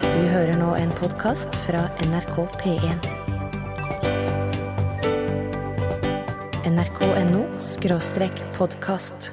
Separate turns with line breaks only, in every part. Du hører nå en podkast fra NRK P1. NRK.no skråstrek podkast.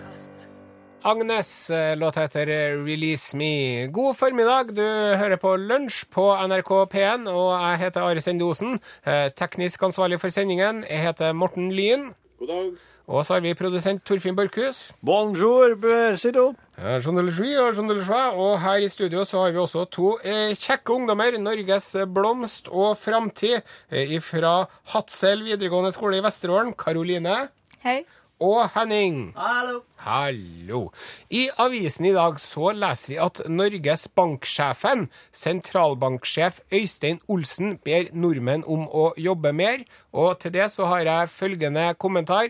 Agnes, eh, låta heter Release Me. God formiddag, du hører på Lunsj på NRK P1, og jeg heter Are Sendosen. eh, Teknisk ansvarlig for sendingen, jeg heter Morten Lyen.
God dag.
Og så har vi produsent Torfinn Borchhus.
Bonjour, Sito.
Eh, journalist Louis og journalist Hva, Og her i studio så har vi også to eh, kjekke ungdommer. Norges blomst og framtid eh, fra Hadsel videregående skole i Vesterålen. Karoline.
Hei.
og Henning. Hallo. I avisen i dag så leser vi at Norges banksjefen, sentralbanksjef Øystein Olsen, ber nordmenn om å jobbe mer, og til det så har jeg følgende kommentar.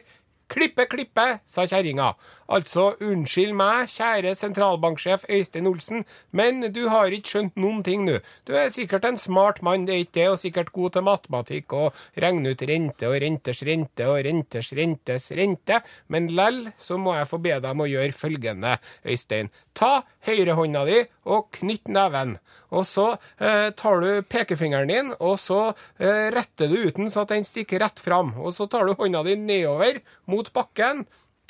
Klippe, klippe, sa kjerringa. Altså, unnskyld meg, kjære sentralbanksjef Øystein Olsen, men du har ikke skjønt noen ting nå. Du er sikkert en smart mann, det er ikke det, og sikkert god til matematikk og regne ut rente og renters rente og renters rentes rente, men lell så må jeg få be deg om å gjøre følgende, Øystein. Ta høyrehånda di og knytt neven. Og så eh, tar du pekefingeren din, og så eh, retter du ut den så at den stikker rett fram. Og så tar du hånda di nedover mot bakken.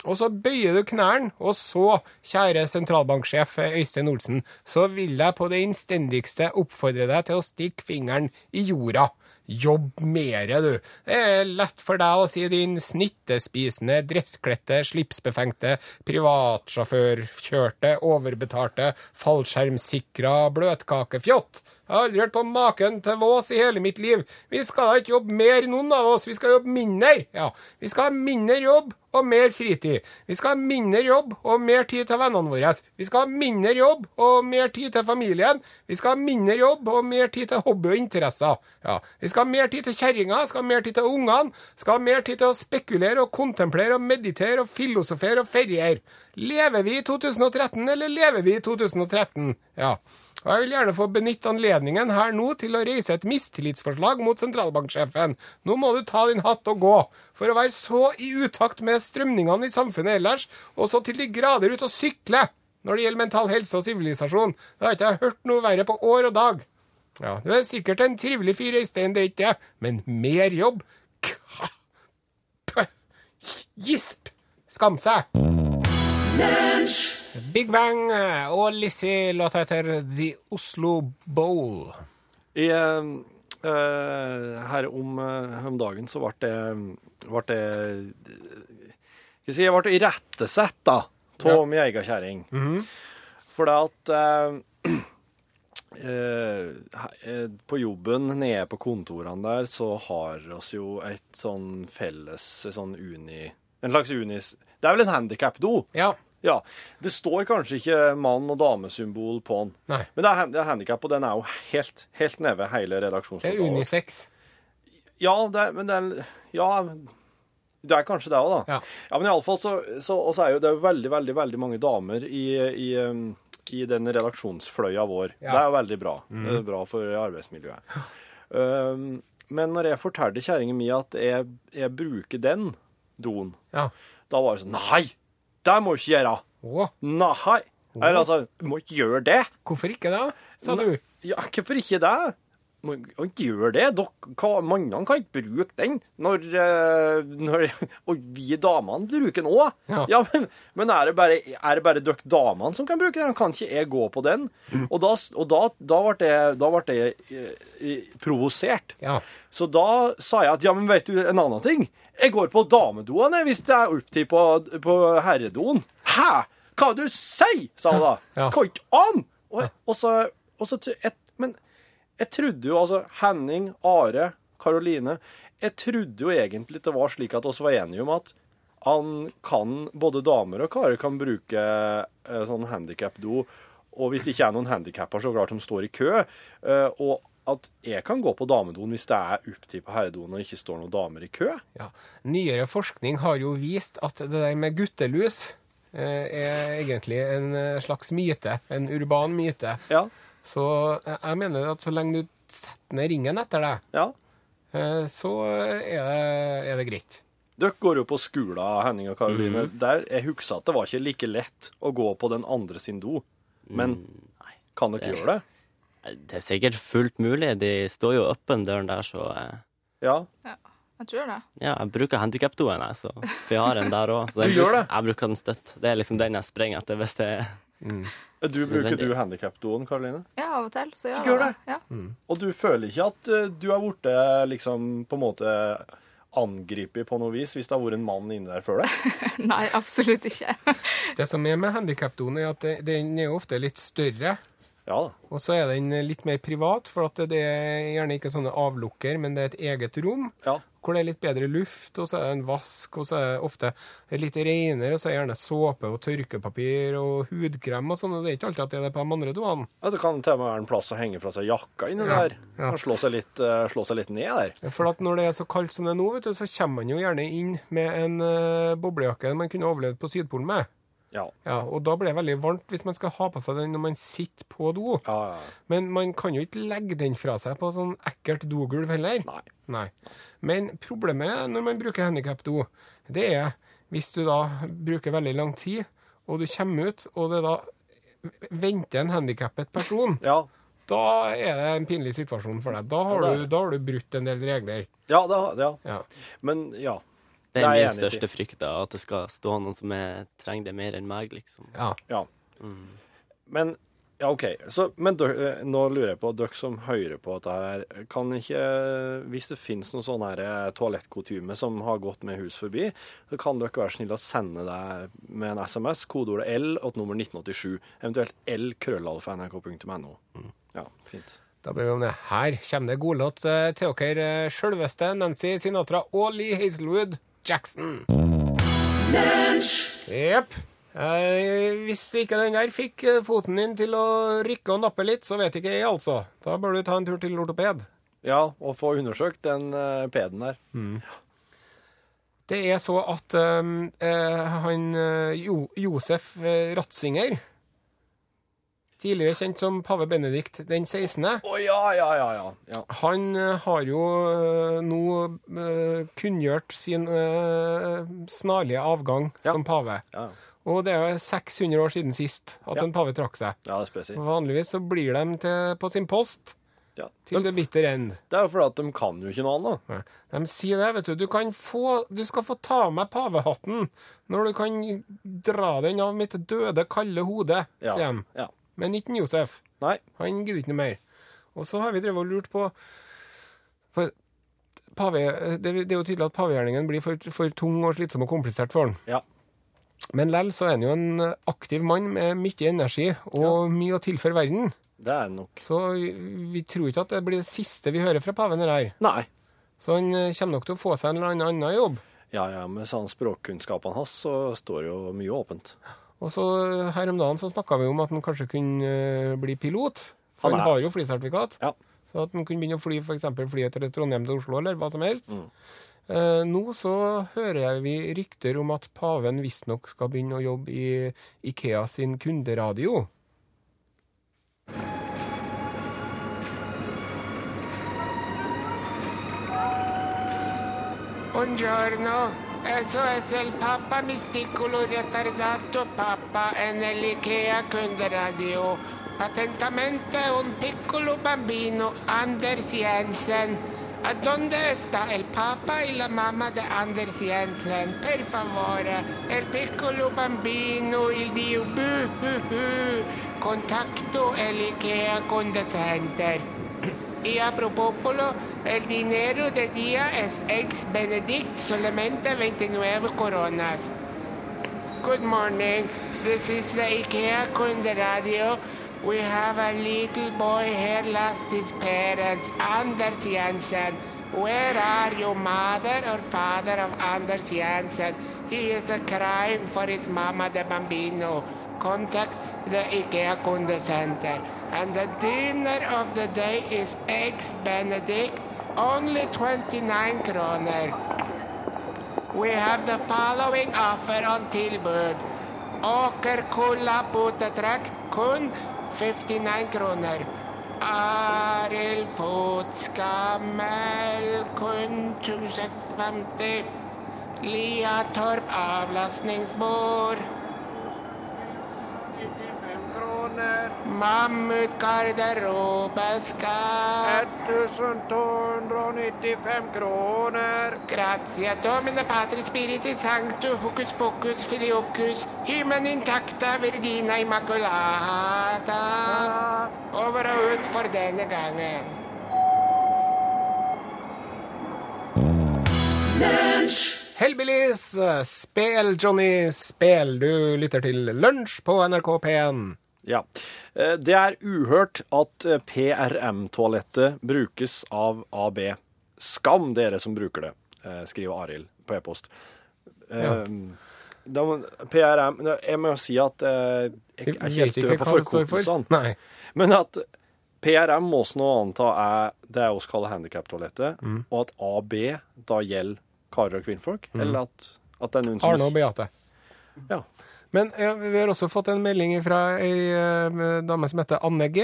Og så bøyer du knærne, og så, kjære sentralbanksjef Øystein Olsen, så vil jeg på det innstendigste oppfordre deg til å stikke fingeren i jorda. Jobb mere, du. Det er lett for deg å si, din snittespisende, dresskledte, slipsbefengte, privatsjåførkjørte, overbetalte, fallskjermsikra bløtkakefjott. Jeg har aldri hørt på maken til vås i hele mitt liv. Vi skal da ikke jobbe mer, noen av oss. Vi skal jobbe mindre. Ja, vi skal ha mindre jobb og mer fritid. Vi skal ha mindre jobb og mer tid til vennene våre. Vi skal ha mindre jobb og mer tid til familien. Vi skal ha mindre jobb og mer tid til hobby og interesser. Ja, vi skal ha mer tid til kjerringa, skal ha mer tid til ungene, skal ha mer tid til å spekulere og kontemplere og meditere og filosofere og feriere. Lever vi i 2013, eller lever vi i 2013? Ja. Og jeg vil gjerne få benytte anledningen her nå til å reise et mistillitsforslag mot sentralbanksjefen. Nå må du ta din hatt og gå. For å være så i utakt med strømningene i samfunnet ellers, og så til de grader ut og sykle når det gjelder mental helse og sivilisasjon. Det har ikke jeg hørt noe verre på år og dag. Ja, du er sikkert en trivelig fyr, Øystein, det er ikke det, men mer jobb? Kha. Pø. Gisp! Skam seg! Big Bang eh, og Lizzie låta heter The Oslo Bowl.
I, eh, eh, her om, eh, om dagen så ble det Ble det Skal vi si, jeg ble irettesett, da, av
Ja. Mhm.
min egen kjerring. Fordi at eh, eh, he- eh, På jobben nede på kontorene der, så har oss jo et sånn felles et sånn uni... En slags unis... Det er vel en handikap-do?
Ja.
Ja. Det står kanskje ikke mann- og damesymbol på den.
Nei.
Men det er, hen- det er handikap, og den er jo helt, helt nede ved hele
Det er
redaksjonslokalet.
unisex.
Ja, det er, men det er, ja, det er kanskje det òg, da.
Ja.
men iallfall så, så og så er jo det jo veldig, veldig veldig mange damer i, i, um, i den redaksjonsfløya vår.
Ja. Mhm.
Det er jo veldig bra. Det er bra for arbeidsmiljøet. Um, men når jeg fortalte kjerringa mi at jeg, jeg bruker den doen,
Ja.
da var det sånn Nei! Det må du ikke gjøre!
Å,
Nei! Eller altså, du må ikke gjøre det!
hvorfor ikke det, sa du?
Ja, hvorfor ikke det? Man man gjør det. Dere- hva- Mannene kan ikke bruke den. Når, eh, når, og vi damene bruker den òg.
Ja.
men, men er det bare, er det bare dere damene som kan bruke den? Kan ikke jeg gå på den? Og da, s- og da, da ble jeg, da ble jeg eh, eh, provosert.
Ja.
Så da sa jeg at ja, men vet du en annen ting? Jeg går på damedoen jeg, hvis det er opptid på, på herredoen. Hæ? Hva du sier? sa hun da.
Ja.
Hva ikke an? Og, og så, og så tr- jeg, Men jeg trodde jo altså Henning, Are, Karoline Jeg trodde jo egentlig det var slik at oss var enige om at han kan, både damer og karer kan bruke eh, sånn handikapdo. Og hvis det ikke er noen handikapper så klart som står i kø, eh, og at jeg kan gå på damedoen hvis det er opptid på herredoen og ikke står noen damer i kø.
Ja. Nyere forskning har jo vist at det der med guttelus eh, er egentlig en eh, slags myte. En urban myte.
Ja,
Så eh, jeg mener at så lenge du setter ned ringen etter deg,
ja.
eh, så er det, er det greit.
Dere går jo på skolen, Henning og Karoline. Der, Jeg husker at det var ikke like lett å gå på den andre sin do. Men kan dere gjøre det?
Jeg
Det er sikkert fullt mulig. De står jo åpen døren der, så eh,
Ja.
Jeg tror det.
Ja, jeg bruker handikapdoen, jeg, så for jeg har en der òg.
Du gjør det?
Jeg bruker den støtt. Det er liksom den jeg springer etter hvis det er
Du bruker
Nødvendig.
du handikapdoen, Karoline?
Ja, av og til så gjør
Du gjør
jeg det. Ja.
Og du føler ikke at eh, du har blitt liksom, på en måte angrepet på noe vis hvis det har vært en mann inne der før deg?
Nei, absolutt ikke.
Det som er med handikapdoen, er at det- den er jo ofte litt større.
Ja da.
Og så er den litt mer privat, for at det er gjerne ikke sånne avlukker, men det er et eget rom.
Ja.
Hvor det er litt bedre luft, og så er det en vask, og så er det ofte litt renere, og så er det gjerne såpe og tørkepapir og hudkrem og sånn, og det er ikke alltid at det er det på de andre doene.
Ja, Det kan til og med være en plass å henge fra seg jakka inni der.
ja.
Og slå seg, litt, eh, slå seg litt ned der.
For at når det er så kaldt som det er nå, vet du, så kommer man jo gjerne inn med en eh, boblejakke man kunne overlevd på Sydpolen med.
Ja.
Ja, og da blir det veldig varmt hvis man skal ha på seg den når man sitter på do.
Ja, ja, ja.
Men man kan jo ikke legge den fra seg på sånn ekkelt dogulv heller.
Nei.
Nei. Men problemet når man bruker handikapdo, det er hvis du da bruker veldig lang tid, og du kommer ut, og det da venter en handikappet person,
Ja.
da er det en pinlig situasjon for deg. Da har,
Ja, det er
du,
det.
da har du brutt en del regler.
Ja, det, har- ja.
Ja.
Men ja.
Det er
jeg
min
enig i.
største frykt, da, at det skal stå noen som er, trenger det mer enn meg, liksom.
ja.
Ja. Men ja, OK. Så, men dø- eh, nå lurer jeg på, dere som hører på dette her, kan ikke Hvis det finnes noen sånne her, eh, toalettkutyme som har gått med hus forbi, så kan dere være snille å sende det med en SMS, kodeordet L og et nummer 1987, eventuelt L krøllalfa nrk.no. Ja, fint.
Da blir vi om det. Her kommer det godlåt eh, til dere, eh, sjølveste Nancy Sinatra og Lee Hazelwood Jackson. Jepp. Eh, hvis ikke den der fikk eh, foten din til å rykke og nappe litt, så vet ikke jeg, altså. Da bør du ta en tur til ortoped.
Ja, og få undersøkt den eh, peden der.
Det er så at eh, eh, han eh, jo, Josef eh, Ratzinger, tidligere kjent som pave Benedikt den 16.,
Å ja, ja, ja, ja. ja.
Han eh, har jo eh, nå eh, kunngjort sin eh, snarlige avgang
Ja.
som pave.
Ja,
Og det er jo 600 år siden sist at
Ja.
en pave trakk seg.
ja det er spesielt.
Vanligvis så blir de til, på sin post
Ja.
til det bitter end.
Det er jo fordi at de kan jo ikke noe annet.
De sier det, vet du. Du, kan få, du skal få ta av meg pavehatten når du kan dra den av mitt døde, kalde hode,
Ja.
sier de.
ja.
Men ikke en Josef.
Nei.
Han gidder ikke noe mer. Og så har vi drevet og lurt på For pave, det, det er jo tydelig at pavegjerningen blir for, for tung og slitsom og komplisert for han.
Ja.
Men lell så er han jo en aktiv mann med mye energi og mye å tilføre verden.
Det er nok.
Så vi, vi tror ikke at det blir det siste vi hører fra paven. det der.
Nei.
Så han eh, kommer nok til å få seg en eller annen annen jobb.
Ja, ja, med sånn språkkunnskapene hans så står jo mye åpent.
Og så eh, her om dagen så snakka vi om at han kanskje kunne eh, bli pilot. For
Han
han
er-
har jo flysertifikat.
Ja.
Så at man kunne begynne å fly for eksempel flyet til Trondheim til Oslo, eller hva som helst.
Mm.
Eh, nå så hører jeg vi rykter om at paven visstnok skal begynne å jobbe i Ikea sin kunderadio.
Buongiorno, SOS El Papa, mi sticolo retardato Papa è nell'Ikea Kundradio. Attentamente un piccolo bambino, Anders Jensen. A dove sta il Papa e la mamma di Anders Jensen? Per favore, il piccolo bambino, il Dio buhuhu, contacto e l'Ikea Condacenter. Y a propósito, el dinero de día es ex Benedict, solamente 29 coronas. Good morning. This is the IKEA Kunderadio. We have a little boy here lost his parents, Anders Jensen. Where are your mother or father of Anders Jensen? He is a crying for his mama, the bambino. Contact the IKEA Kunde Center. And the dinner of the day is eggs Benedict, only 29 kroner. We have the following offer on tilbud. Åker Kulla potetrekk kun 59 kroner. Arild Fotskammel kun 1050. Liatorp avlastningsbord 95 kroner. Mammutgarderobe skal
1295 kroner.
Grazie, Domine Patri Spiriti Sancto, Hocus Pocus Filiokus, Hymen Intacta Virgina Immaculata. Over og ut for denne gangen.
Hellbillies, spel Johnny, spel. Du lytter til Lunsj på NRK P1.
Ja. Eh, Det er uhørt at eh, PRM-toalettet brukes av AB. Skam dere som bruker det, eh, skriver Arild på e-post. Eh,
Ja.
da må- PRM Jeg må si at eh, jeg, jeg er ikke helt stø på forkortelsene.
Nei.
Men at PRM må også nå anta er det jeg også kaller handikaptoalettet, og at AB da gjelder karer og kvinnfolk, eller at, at det er noen som
Arne og Beate.
Ja.
Men eh, vi har også fått en melding fra ei eh, dame som heter Anne G.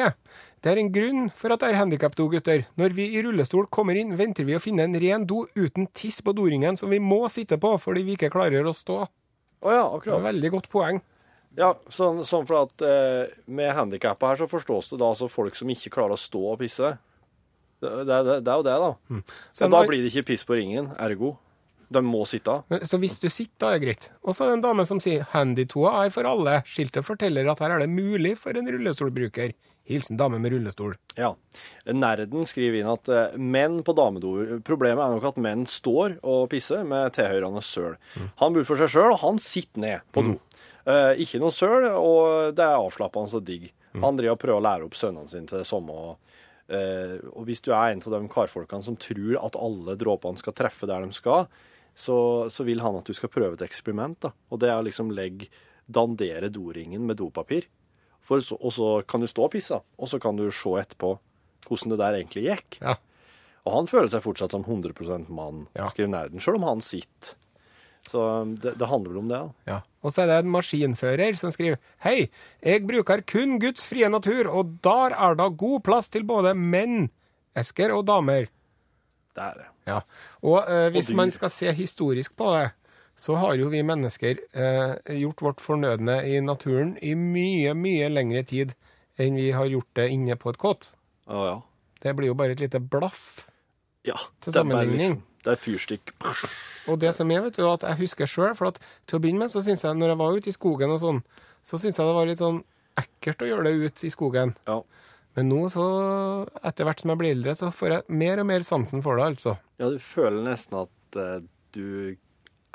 Det er en grunn for at det er handikap do, gutter. Når vi i rullestol kommer inn, venter vi å finne en ren do uten tiss på doringen som vi må sitte på fordi vi ikke klarer å stå.
Å ja,
Det var
akkurat.
et veldig godt poeng.
Ja, sånn, sånn for at eh, med handikappa her så forstås det da altså folk som ikke klarer å stå og pisse. Det, det, det, det er jo det, da.
Så,
Og da blir det ikke piss på ringen, ergo. De må sitte.
så hvis du sitter, da er det greit. Og så er det en dame som sier 'Handytoa er for alle'. Skiltet forteller at her er det mulig for en rullestolbruker. Hilsen dame med rullestol.
Ja. Nerden skriver inn at eh, menn på damedoer Problemet er nok at menn står og pisser med tilhørende søl. Han bor for seg sjøl, og han sitter ned på do. Eh, ikke noe søl, og det er avslappende og digg. Han driver og prøver å lære opp sønnene sine til det samme. Og, eh, og hvis du er en av de karfolkene som tror at alle dråpene skal treffe der de skal, så, så vil han at du skal prøve et eksperiment. Da. Og det er å liksom legge Dandere doringen med dopapir. For så, og så kan du stå og pisse, og så kan du se etterpå hvordan det der egentlig gikk.
Ja.
Og han føler seg fortsatt som 100 mann,
Ja.
skriver nerden, sjøl om han sitter. Så det, det handler vel om det, da.
Ja. Og så er det en maskinfører som skriver Hei, jeg bruker kun Guds frie natur, og der er da god plass til både menn, esker og damer.
Det er det.
Ja. Og eh, hvis
dyr.
man skal se historisk på det, så har jo vi mennesker eh, gjort vårt fornødne i naturen i mye, mye lengre tid enn vi har gjort det inne på et kott.
Å ja.
Det blir jo bare et lite blaff.
ja.
Til
det er bare liksom-
sammenligning.
det er fyrstikk.
Og det som er, vet du, at jeg husker sjøl, for at til å begynne med, så syns jeg, når jeg var ute i skogen og sånn, så syns jeg det var litt sånn ekkelt å gjøre det ute i skogen.
Ja.
Men nå, så etter hvert som jeg blir eldre, så får jeg mer og mer sansen for det, altså.
ja, du føler nesten at eh, du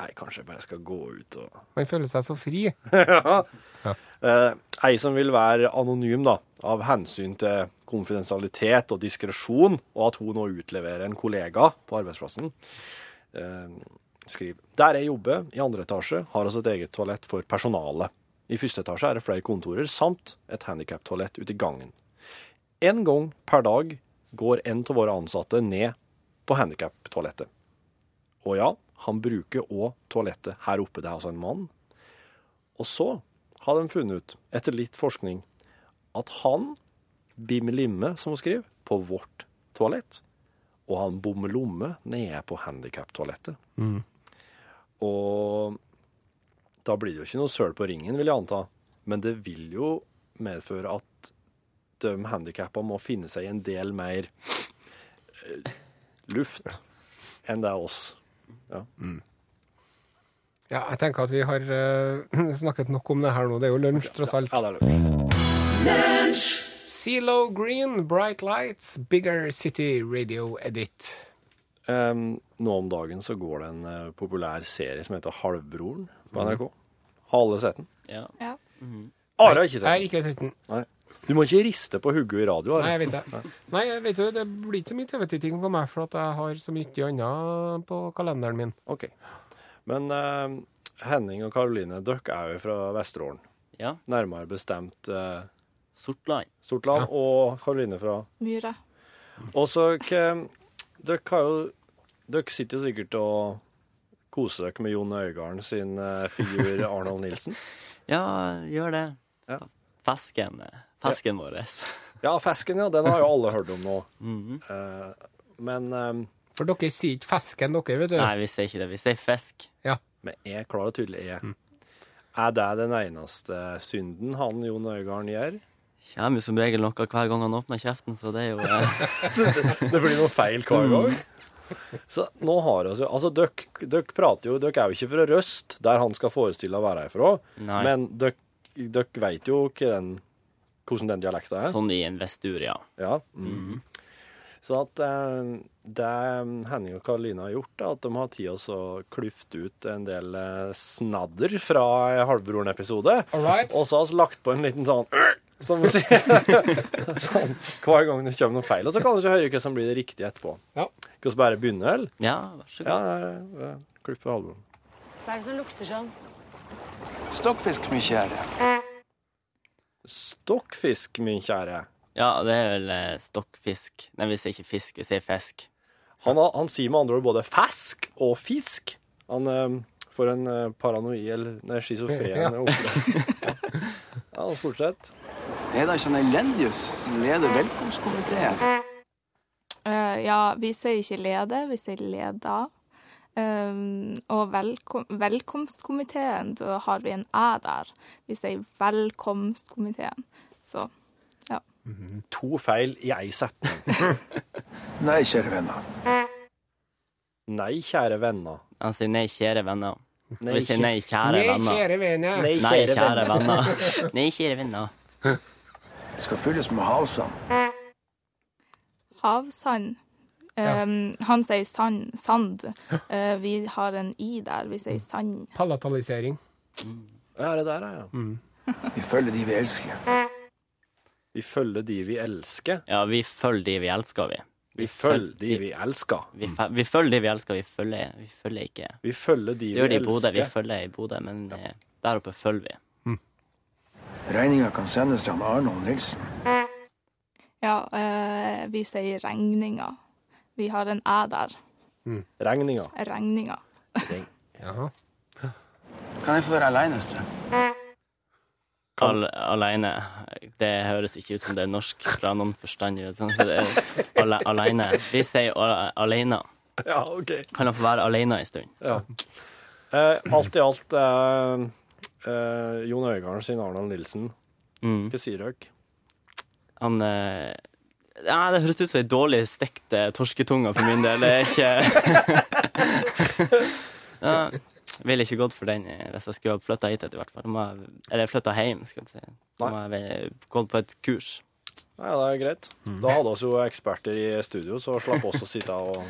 Nei, kanskje jeg bare skal gå ut og
Man føler seg så fri.
Eh, ei som vil være anonym, da, av hensyn til konfidensialitet og diskresjon, og at hun nå utleverer en kollega på arbeidsplassen, eh, skriver Der jeg jobber, i andre etasje, har oss et eget toalett for personalet. I første etasje er det flere kontorer samt et handikaptoalett ute i gangen. En gang per dag går en av våre ansatte ned på handikaptoalettet. Og ja, han bruker òg toalettet her oppe. Det er altså en mann. Og så har de funnet ut, etter litt forskning, at han, Bim Limme, som hun skriver, på vårt toalett, og han Bom Lomme nede på handikaptoalettet. Og da blir det jo ikke noe søl på ringen, vil jeg anta. Men det vil jo medføre at de handikappa må finne seg en del mer eh, luft enn det er oss.
Ja, jeg tenker at vi har eh, snakket nok om det her nå. Det er jo lunsj, tross alt.
Ja, det er luft.
CeeLo Green, Bright Lights, Bigger City Radio Edit.
Ehm, nå om dagen så går det en eh, populær serie som heter Halvbroren
Mm.
på NRK. Har alle sett den?
Ja.
Ja.
Are har ikke
Jeg har
sett den.
ikke sett den.
Nei. Du må ikke riste på hodet i radio.
Nei, jeg
Are.
vet det. Nei, jeg vet jo, det blir ikke så mye TV-titting på meg, for at jeg har så mye annet på kalenderen min.
Ok. Men eh, Henning og Karoline, dere er jo fra Vesterålen.
ja.
Nærmere bestemt eh,
Sortland.
Sortland. Og Karoline fra
Myre.
Og så k- Dere har jo Dere sitter jo sikkert og koser dere med Jon Øigarden sin eh, figur Arnold Nilsen.
Ja, gjør det.
Ja.
Fesken. eh, Fesken vår.
Ja, Fesken, ja. Den har jo alle hørt om nå.
Mhm.
Eh, men eh,
For dere sier ikke fesken, dere, vet du.
Nei, vi sier ikke det. Vi sier fisk.
med E, klar Mm. og tydelig E. Er det den eneste synden han Jon Øigarden gjør?
kommer jo som regel noe hver gang han åpner kjeften, så det er jo eh,
Det blir noe feil hver gang. Mm. Så nå har altså, altså døkk, døkk prater jo, døkk er jo ikke fra Røst, der han skal forestille å være ifra,
Nei.
men døkk, døkk vet jo hva den, hvordan den dialekta er.
sånn i en vestur, ja.
Ja. Så at eh, det Henning og Karoline har gjort, er at de har tid også å klufte ut en del eh, snadder fra Halvbroren-episode.
All right.
Og så har vi lagt på en liten sånn «Øh», som vi sier. sånn, hver gang det kommer noe feil. Og så kan du ikke høre hva som blir det riktige etterpå.
Ja.
Skal vi bare begynne, eller?
Ja, vær så
Ja,
god.
ja, ja. klippe Halvbroren.
Hva er det som lukter sånn?
Stokkfisk, min kjære.
Stokkfisk, min kjære.
Ja, det er vel eh, stokkfisk. Nei, vi sier ikke fisk, vi sier fisk.
Han, har- han sier med andre ord både fask og fisk. Han eh, får en eh, paranoid nei, schizofren
Ja.
opplevelse. Ja, og fortsett.
Er det ikke han Elendius som leder velkomstkomiteen?
Eh, ja, vi sier ikke lede, vi sier leda. Um, og velkom velkomstkomiteen, så har vi en æ der. Vi sier velkomstkomiteen. Så
To feil i ei setning.
Nei, kjære venner.
Nei, kjære venner.
Han sier nei, kjære venner. Og
Nei,
vi sier nei, kjære
Nei,
venner.
kjære vene.
Nei,
Nei,
kjære
kjære
venner.
venner. Nei, kjære venner.
Det skal fylles med havsand.
havsand. Um, Han sier sand. sand. Eh, vi har en i der, vi sier sand.
Palatalisering.
Ja, det der er ja.
Vi følger de vi elsker.
Vi følger de vi elsker.
Ja, vi følger de vi elsker, vi.
Vi følger de vi elsker.
Vi, fe- vi følger de vi elsker, vi følger, vi følger ikke
Vi følger de
Vi
vi
gjør det i Bodø, vi
elsker.
følger i Bodø, men eh, der oppe følger vi.
Regninga kan sendes til han Arnold Nilsen.
Ja, eh, vi sier regninga. Vi har en æ der.
Regninga.
Regninga.
Jaha.
Kan jeg få være aleine en stund?
Al aleine. Det høres ikke ut som det er norsk fra noen forstand. ut, sånn, så det er ale aleine. Vi sier a- aleine.
Ja, OK.
Kan han få være aleine en stund?
Ja. Eh, alt i alt eh, eh, Jon Øigarden sin Arnold Nilsen.
Mm.
Hva sier dere?
Han eh, ja, Det høres ut som ei dårlig stekt eh, torsketunge for min del. Det er ikke ja, Ville ikke gått for den eh, hvis jeg skulle ha flytta hit, i hvert fall. Da Må jeg, eller flytta hjem, skal jeg si. Da må jeg vel gått på et kurs.
Nei, det er greit. Da hadde oss jo eksperter i studio, så slapp oss å sitte og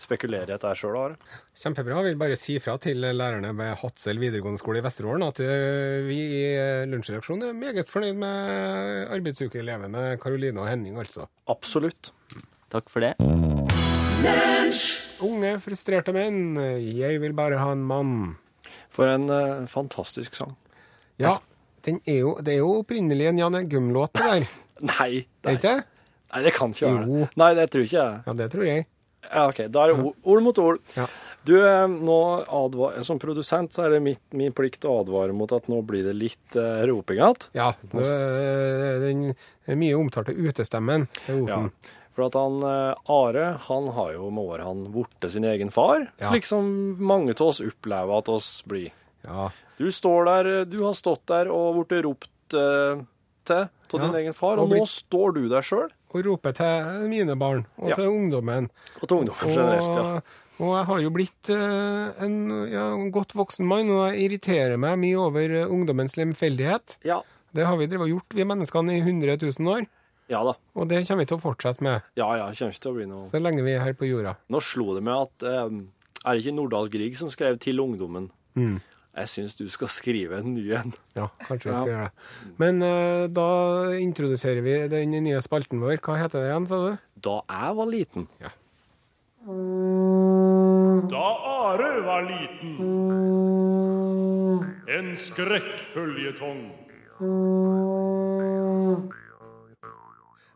spekulere i dette sjøl. Are.
Kjempebra. Jeg vil bare si fra til lærerne ved Hadsel videregående skole i Vesterålen at eh, vi i eh, lunsjredaksjonen er meget fornøyd med arbeidsukeelevene Karoline og Henning, altså.
Absolutt.
Takk for det.
Unge, frustrerte menn. Jeg vil bare ha en mann.
For en eh, fantastisk sang.
Ja, den er jo, det er jo opprinnelig en Jan Eggum-låt, det der.
Nei,
Er det
nei,
ikke det?
nei, det kan ikke være
Jo.
det. Nei, det tror ikke jeg.
Ja, det tror jeg.
Ja, OK, da er det ord, ord mot ord.
Ja.
Du, eh, nå advar, Som produsent så er det mitt, min plikt å advare mot at nå blir det litt eh, roping igjen.
Ja, det, den mye omtalte utestemmen til
Ja.
Osen.
For at han eh, Are, han har jo med året han borte sin egen far,
Ja.
slik som mange av oss opplever at oss blir.
Ja.
Du står der, eh, du har stått der og blitt ropt eh, til av
Ja.
din egen far,
Og
og
blitt-
nå står du der sjøl.
Og roper til mine barn, og
Ja.
til ungdommen.
Og til ungdommen generelt, ja.
Og, og jeg har jo blitt eh, en, ja, en godt voksen mann, og jeg irriterer meg mye over eh, ungdommens lemfeldighet.
ja.
Det har vi drevet og gjort, vi menneskene, i 100 000 år.
Ja da.
Og det kommer vi til å fortsette med
Ja ja, det kommer ikke til å bli noe
så lenge vi er her på jorda.
Nå slo det meg at eh, er det ikke Nordahl Grieg som skrev 'Til ungdommen'?
Mm.
Jeg syns du skal skrive en ny en.
Ja, kanskje vi skal
Ja.
gjøre det. Men eh, da introduserer vi den nye spalten vår. Hva heter det igjen, sa du?
Da jeg var liten.
Da Are var liten. En skrekkføljetong.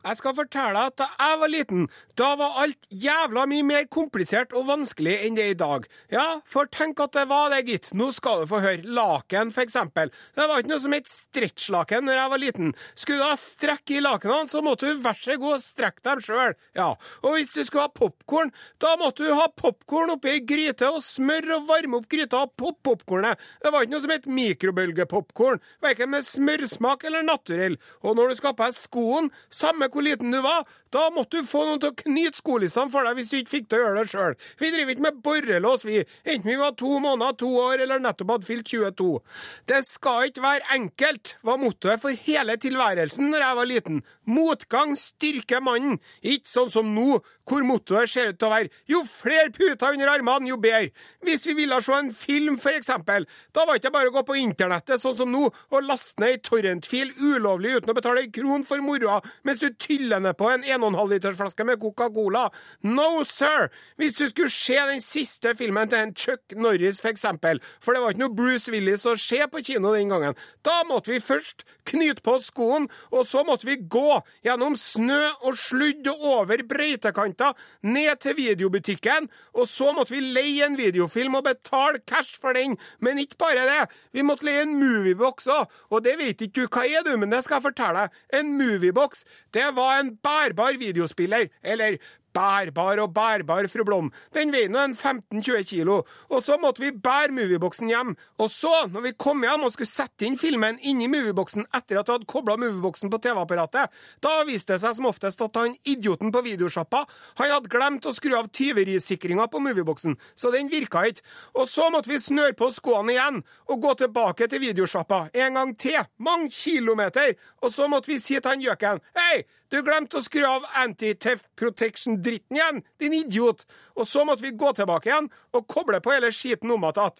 Jeg skal fortelle deg at da jeg var liten, da var alt jævla mye mer komplisert og vanskelig enn det er i dag. Ja, for tenk at det var det, gitt. Nå skal du få høre. Laken, for eksempel. Det var ikke noe som het stretchlaken når jeg var liten. Skulle du ha strekk i lakenene, så måtte du vær så god og strekke dem sjøl. Ja. Og hvis du skulle ha popkorn, da måtte du ha popkorn oppi ei gryte og smør og varme opp gryta og poppe popkornet. Det var ikke noe som het mikrobølgepopkorn, verken med smørsmak eller naturell. Og når du skal ha på deg skoen, samme hvor liten du var, da måtte du få noen til å knyte skolissene for deg hvis du ikke fikk til å gjøre det sjøl. Vi driver ikke med borrelås, vi, enten vi var to måneder, to år eller nettopp hadde fylt 22. Det skal ikke være enkelt, var mottoet for hele tilværelsen når jeg var liten. Motgang styrker mannen, ikke sånn som nå, hvor mottoet ser ut til å være jo flere puter under armene, jo bedre. Hvis vi ville se en film, for eksempel, da var det ikke bare å gå på internettet, sånn som nå, og laste ned ei torrentfil ulovlig uten å betale ei kron for moroa, mens du tyller ned på en 1,5-litersflaske med Coca-Cola. No, sir! Hvis du skulle se den siste filmen til en Chuck Norris, for eksempel, for det var ikke noe Bruce Willis å se på kino den gangen, da måtte vi først knyte på oss skoen, og så måtte vi gå gjennom snø og sludd og over brøytekanter, ned til videobutikken, og så måtte vi leie en videofilm og betale cash for den, men ikke bare det, vi måtte leie en moviebox òg, og det vet ikke du hva er, du, men det skal jeg fortelle deg, en moviebox, det var en bærbar videospiller, eller bærbar og bærbar, fru Blom. Den veier nå en 15-20 kilo. Og så måtte vi bære movieboksen hjem. Og så, når vi kom hjem og skulle sette inn filmen inni movieboksen etter at vi hadde kobla movieboksen på TV-apparatet, da viste det seg som oftest at han idioten på videosjappa han hadde glemt å skru av tyverisikringa på movieboksen, så den virka ikke. Og så måtte vi snøre på skoene igjen og gå tilbake til videosjappa en gang til, mange kilometer, og så måtte vi si til han gjøken Hei, du glemte å skru av anti-theft protection-dritten igjen, din idiot! Og så måtte vi gå tilbake igjen og koble på hele skiten om igjen.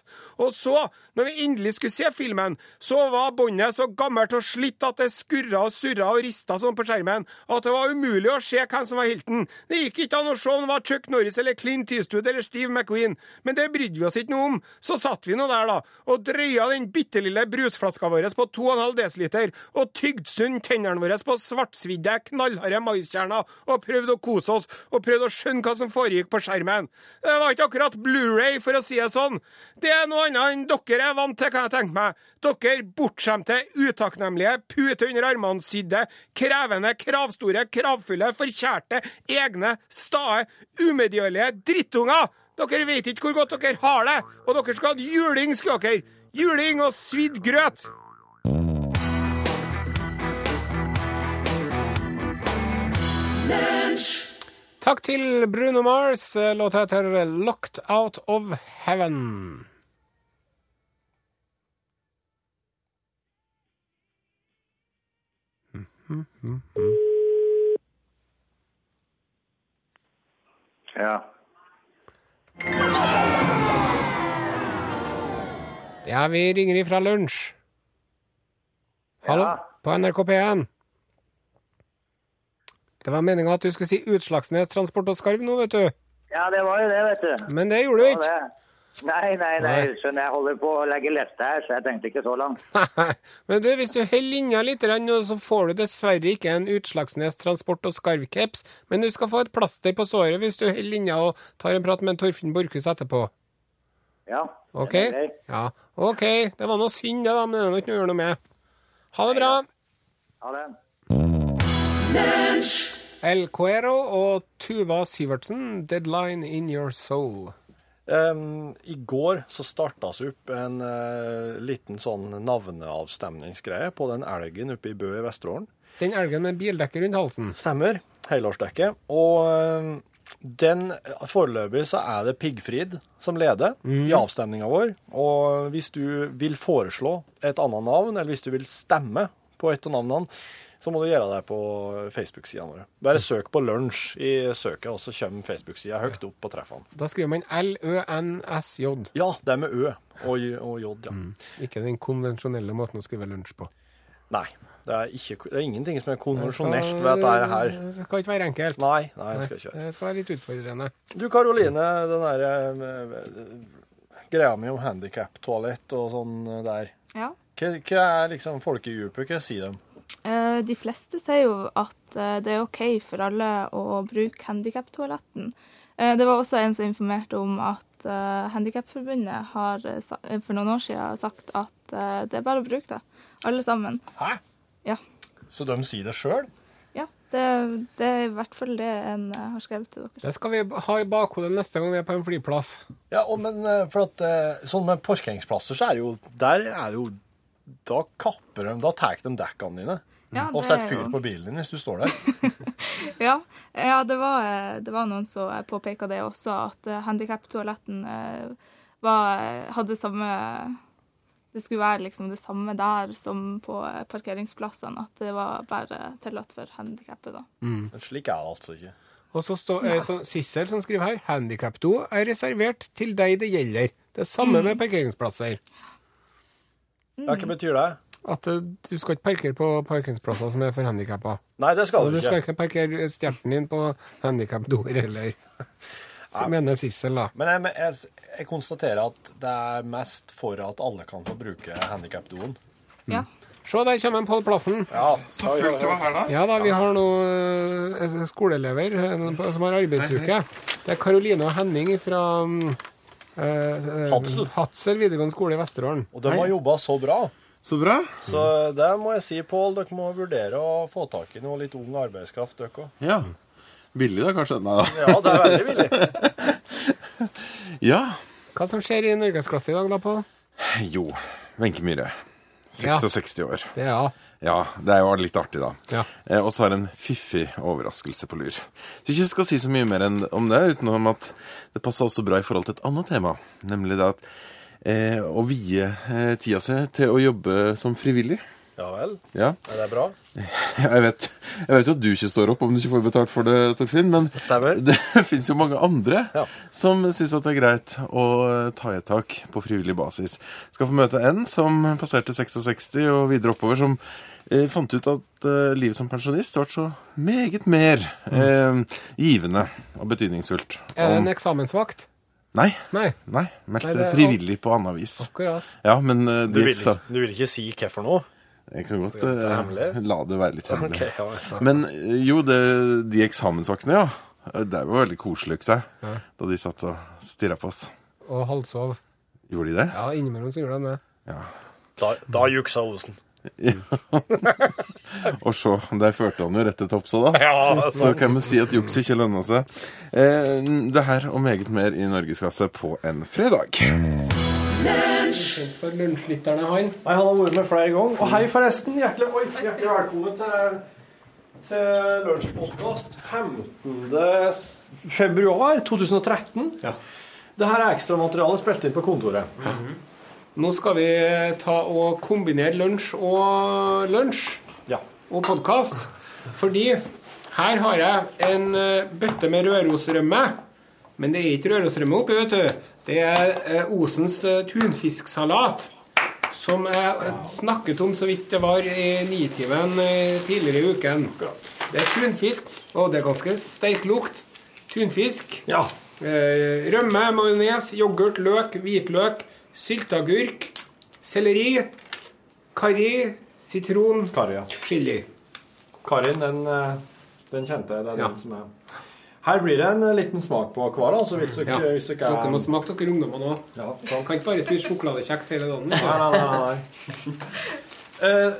Og så, når vi endelig skulle se filmen, så var båndet så gammelt og slitt at det skurra og surra og rista sånn på skjermen at det var umulig å se hvem som var helten. Det gikk ikke an å se om det var Chuck Norris eller Clint Eastwood eller Steve McQueen, men det brydde vi oss ikke noe om. Så satt vi nå der, da, og drøya den bitte lille brusflaska vår på 2,5 dl, og tygde sund tennene våre på svartsvidde, knall knallharde maiskjerner og prøvde å kose oss og prøvde å skjønne hva som foregikk på skjermen. Det var ikke akkurat Blu-ray, for å si det sånn. Det er noe annet enn dere er vant til, kan jeg tenke meg. Dere bortskjemte, utakknemlige, pute under armene-sidde, krevende, kravstore, kravfulle, forkjærte, egne, stae, umedgjørlige drittunger! Dere vet ikke hvor godt dere har det, og dere skal ha juling, skulle dere! Juling og svidd grøt! Takk til Bruno Mars. Låta heter 'Locked Out of Heaven'.
Ja.
Ja, vi ringer ifra lunsj. Hallo?
Ja.
På NRK P1. Det var meninga at du skulle si Utslagsnes Transport og Skarv nå, vet du.
Ja, det var jo det, vet du.
Men det gjorde du
Det var
ikke.
det. Nei, nei, nei,
Nei.
skjønner jeg holder på å legge liste her, så jeg tenkte ikke så langt.
Men du, hvis du holder linja litt, grann nå, så får du dessverre ikke en Utslagsnes Transport og Skarvcaps, men du skal få et plaster på såret hvis du holder linja og tar en prat med en Torfinn Borchhus etterpå.
Ja.
OK?
det var greit.
Ja. OK. Det var nå synd, det, da, men det er nå ikke noe å gjøre noe med. Ha det bra.
Ha det.
El Cuero og Tuva Syvertsen, 'Deadline in Your Soul'.
Em, Ehm, I går så starta vi opp en eh, liten sånn navneavstemningsgreie på den elgen oppe i Bø i Vesterålen.
Den elgen med bildekke rundt halsen.
Stemmer. Helårsdekke. Og eh, den foreløpig så er det Piggfrid som leder i avstemninga vår. Og hvis du vil foreslå et annet navn, eller hvis du vil stemme på et av navnene, så må du gjøre det på Facebook-sidene våre. Bare søk på 'lunsj' i søket, og så kommer Facebook-sida høyt opp på treffene.
Da skriver man LØNSJ,
Ja, det er med Ø og, J- og J, ja.
ikke den konvensjonelle måten å skrive lunsj på.
Nei. Det er, ikke, det er ingenting som er konvensjonelt ved dette her.
Det skal ikke være enkelt.
Nei, nei, jeg skal ikke gjøre
Det skal være litt utfordrende.
Du Karoline, den der eh, eh, greia mi om handicap toalett og sånn eh, der.
Ja.
Hva, hva er liksom folkedypet? Hva sier de?
Eh, De fleste sier jo at eh, det er OK for alle å bruke handikaptoaletten. Eh, Det var også en som informerte om at eh, Handikapforbundet har eh, sa- eh, for noen år siden sagt at eh, det er bare å bruke det, alle sammen.
Hæ?
Ja.
Så de sier det sjøl?
ja det, det er i hvert fall det en eh, har skrevet til dere.
Det skal vi ha i bakhodet neste gang vi er på en flyplass.
Ja, og men eh, for at eh, sånn med parkeringsplasser, så er det jo Der er det jo Da kapper de Da tar de dekkene dine.
Ja,
og
det
setter
Mm. er
fyr
jo-
på bilen din hvis du står der.
Ja, ja det, var, eh, det var noen som påpeka det også, at eh, handikaptoaletten eh, var, eh, hadde samme Det skulle være liksom det samme der som på eh, parkeringsplassene, at det var bare tillatt for handikappede.
Men slik er det altså ikke.
Og så står eh, så, Sissel som skriver her handikap 2 er reservert til deg det gjelder. Det samme med parkeringsplasser.
Mm.
Ja, hva betyr det?
At eh, du skal ikke parkere på parkeringsplasser som er for handikappa.
Nei, det skal
Og
du
du skal
ikke.
ikke parkere stjerten din på handikapdoer heller. Mener Sissel, da.
Men jeg, men jeg, jeg konstaterer at det er mest for at alle kan få bruke handikapdoen.
Mm.
Ja.
Se, der kommer en på plassen.
Ja,
Så fullt det var her, da?
Ja da, vi har nå eh, skoleelever eh, på- som har arbeidsuke. Det er Karoline og Henning fra eh,
Hadsel.
Hadsel videregående skole i Vesterålen.
Og de har jobba så bra.
Så bra.
Så det må jeg si, Pål, dere må vurdere å få tak i noe litt ung arbeidskraft, dere òg.
Ja. Billig, da, kanskje? Nei da.
Ja, det er veldig billig.
Ja.
Hva som skjer i norgesklasse i dag, da, Pål?
Jo, Wenche Myhre. 66 år.
Det, ja.
Ja, det er jo litt artig, da.
Ja.
Eh, og så har jeg en fiffig overraskelse på lur. Så ikke jeg skal si så mye mer enn om det, utenom at det passer også bra i forhold til et annet tema, nemlig det at eh, å vie eh, tida si til å jobbe som frivillig.
Ja vel.
Ja.
Er det bra?
Ja, Jeg vet, jeg vet jo at du ikke står opp om du ikke får betalt for det, Torfinn, men det finnes jo mange andre som syns at det er greit å ta i et tak på frivillig basis. Skal få møte en som passerte 66 og videre oppover, som eh, fant ut at eh, livet som pensjonist ble så meget mer eh, givende og betydningsfullt.
Er det
Om-
en eksamensvakt?
Nei.
Eh, Nei.
Nei, Meldt
Nei,
seg
det er-
frivillig på annet vis.
Akkurat.
Ja, men eh,
Du
det
vil,
gikk så
ikke- du vil ikke si hvorfor nå?
jeg kan godt
Det er
eh,
hemmelig.
la det være litt hemmelig.
Ok, ja, ja.
Men eh, jo, det, de eksamensvaktene, ja. Det var veldig koselig, ikke sant?
Ja.
Da de satt og stirra på oss.
Og halvsov.
Gjorde de det?
Ja, innimellom så gjorde de det.
Da, da juksa Osen.
Og så, der førte han jo rett til topps òg, da.
Ja,
så
sant.
kan vi si at juks ikke lønna seg. Eh, det her og meget mer i Norgesklasse på en fredag.
Kjent for lunsjlytterne, han.
Nei, han har vært med flere ganger. Og hei, forresten. Hjertelig, oi, hjertelig velkommen til, til lunsjpodkast 15. s- februar 2013. Det her er ekstramateriale spilt inn på kontoret.
Nå skal vi ta og kombinere lunsj og lunsj og podkast. Fordi her har jeg en eh, bøtte med rørosrømme. Men det er ikke rørosrømme oppi, vet du. Det er eh, Osens eh, tunfisksalat. Som jeg eh, snakket om så vidt det var i Nitimen eh, tidligere i uken. Det er tunfisk, og det er ganske sterk lukt. Tunfisk. Eh, rømme, majones, yoghurt, løk, hvitløk, sylteagurk, selleri, karri, sitron, chili.
Karin, den, eh, den kjente jeg. Det er
Ja.
den som er Her blir det en eh, liten smak på hver, altså, hvis dere,
Ja.
hvis dere er
Dere må smake dere ungdommene òg.
Ja,
Kan ikke bare spise sjokoladekjeks hele dagen.
Nei, nei, nei. nei. Eh,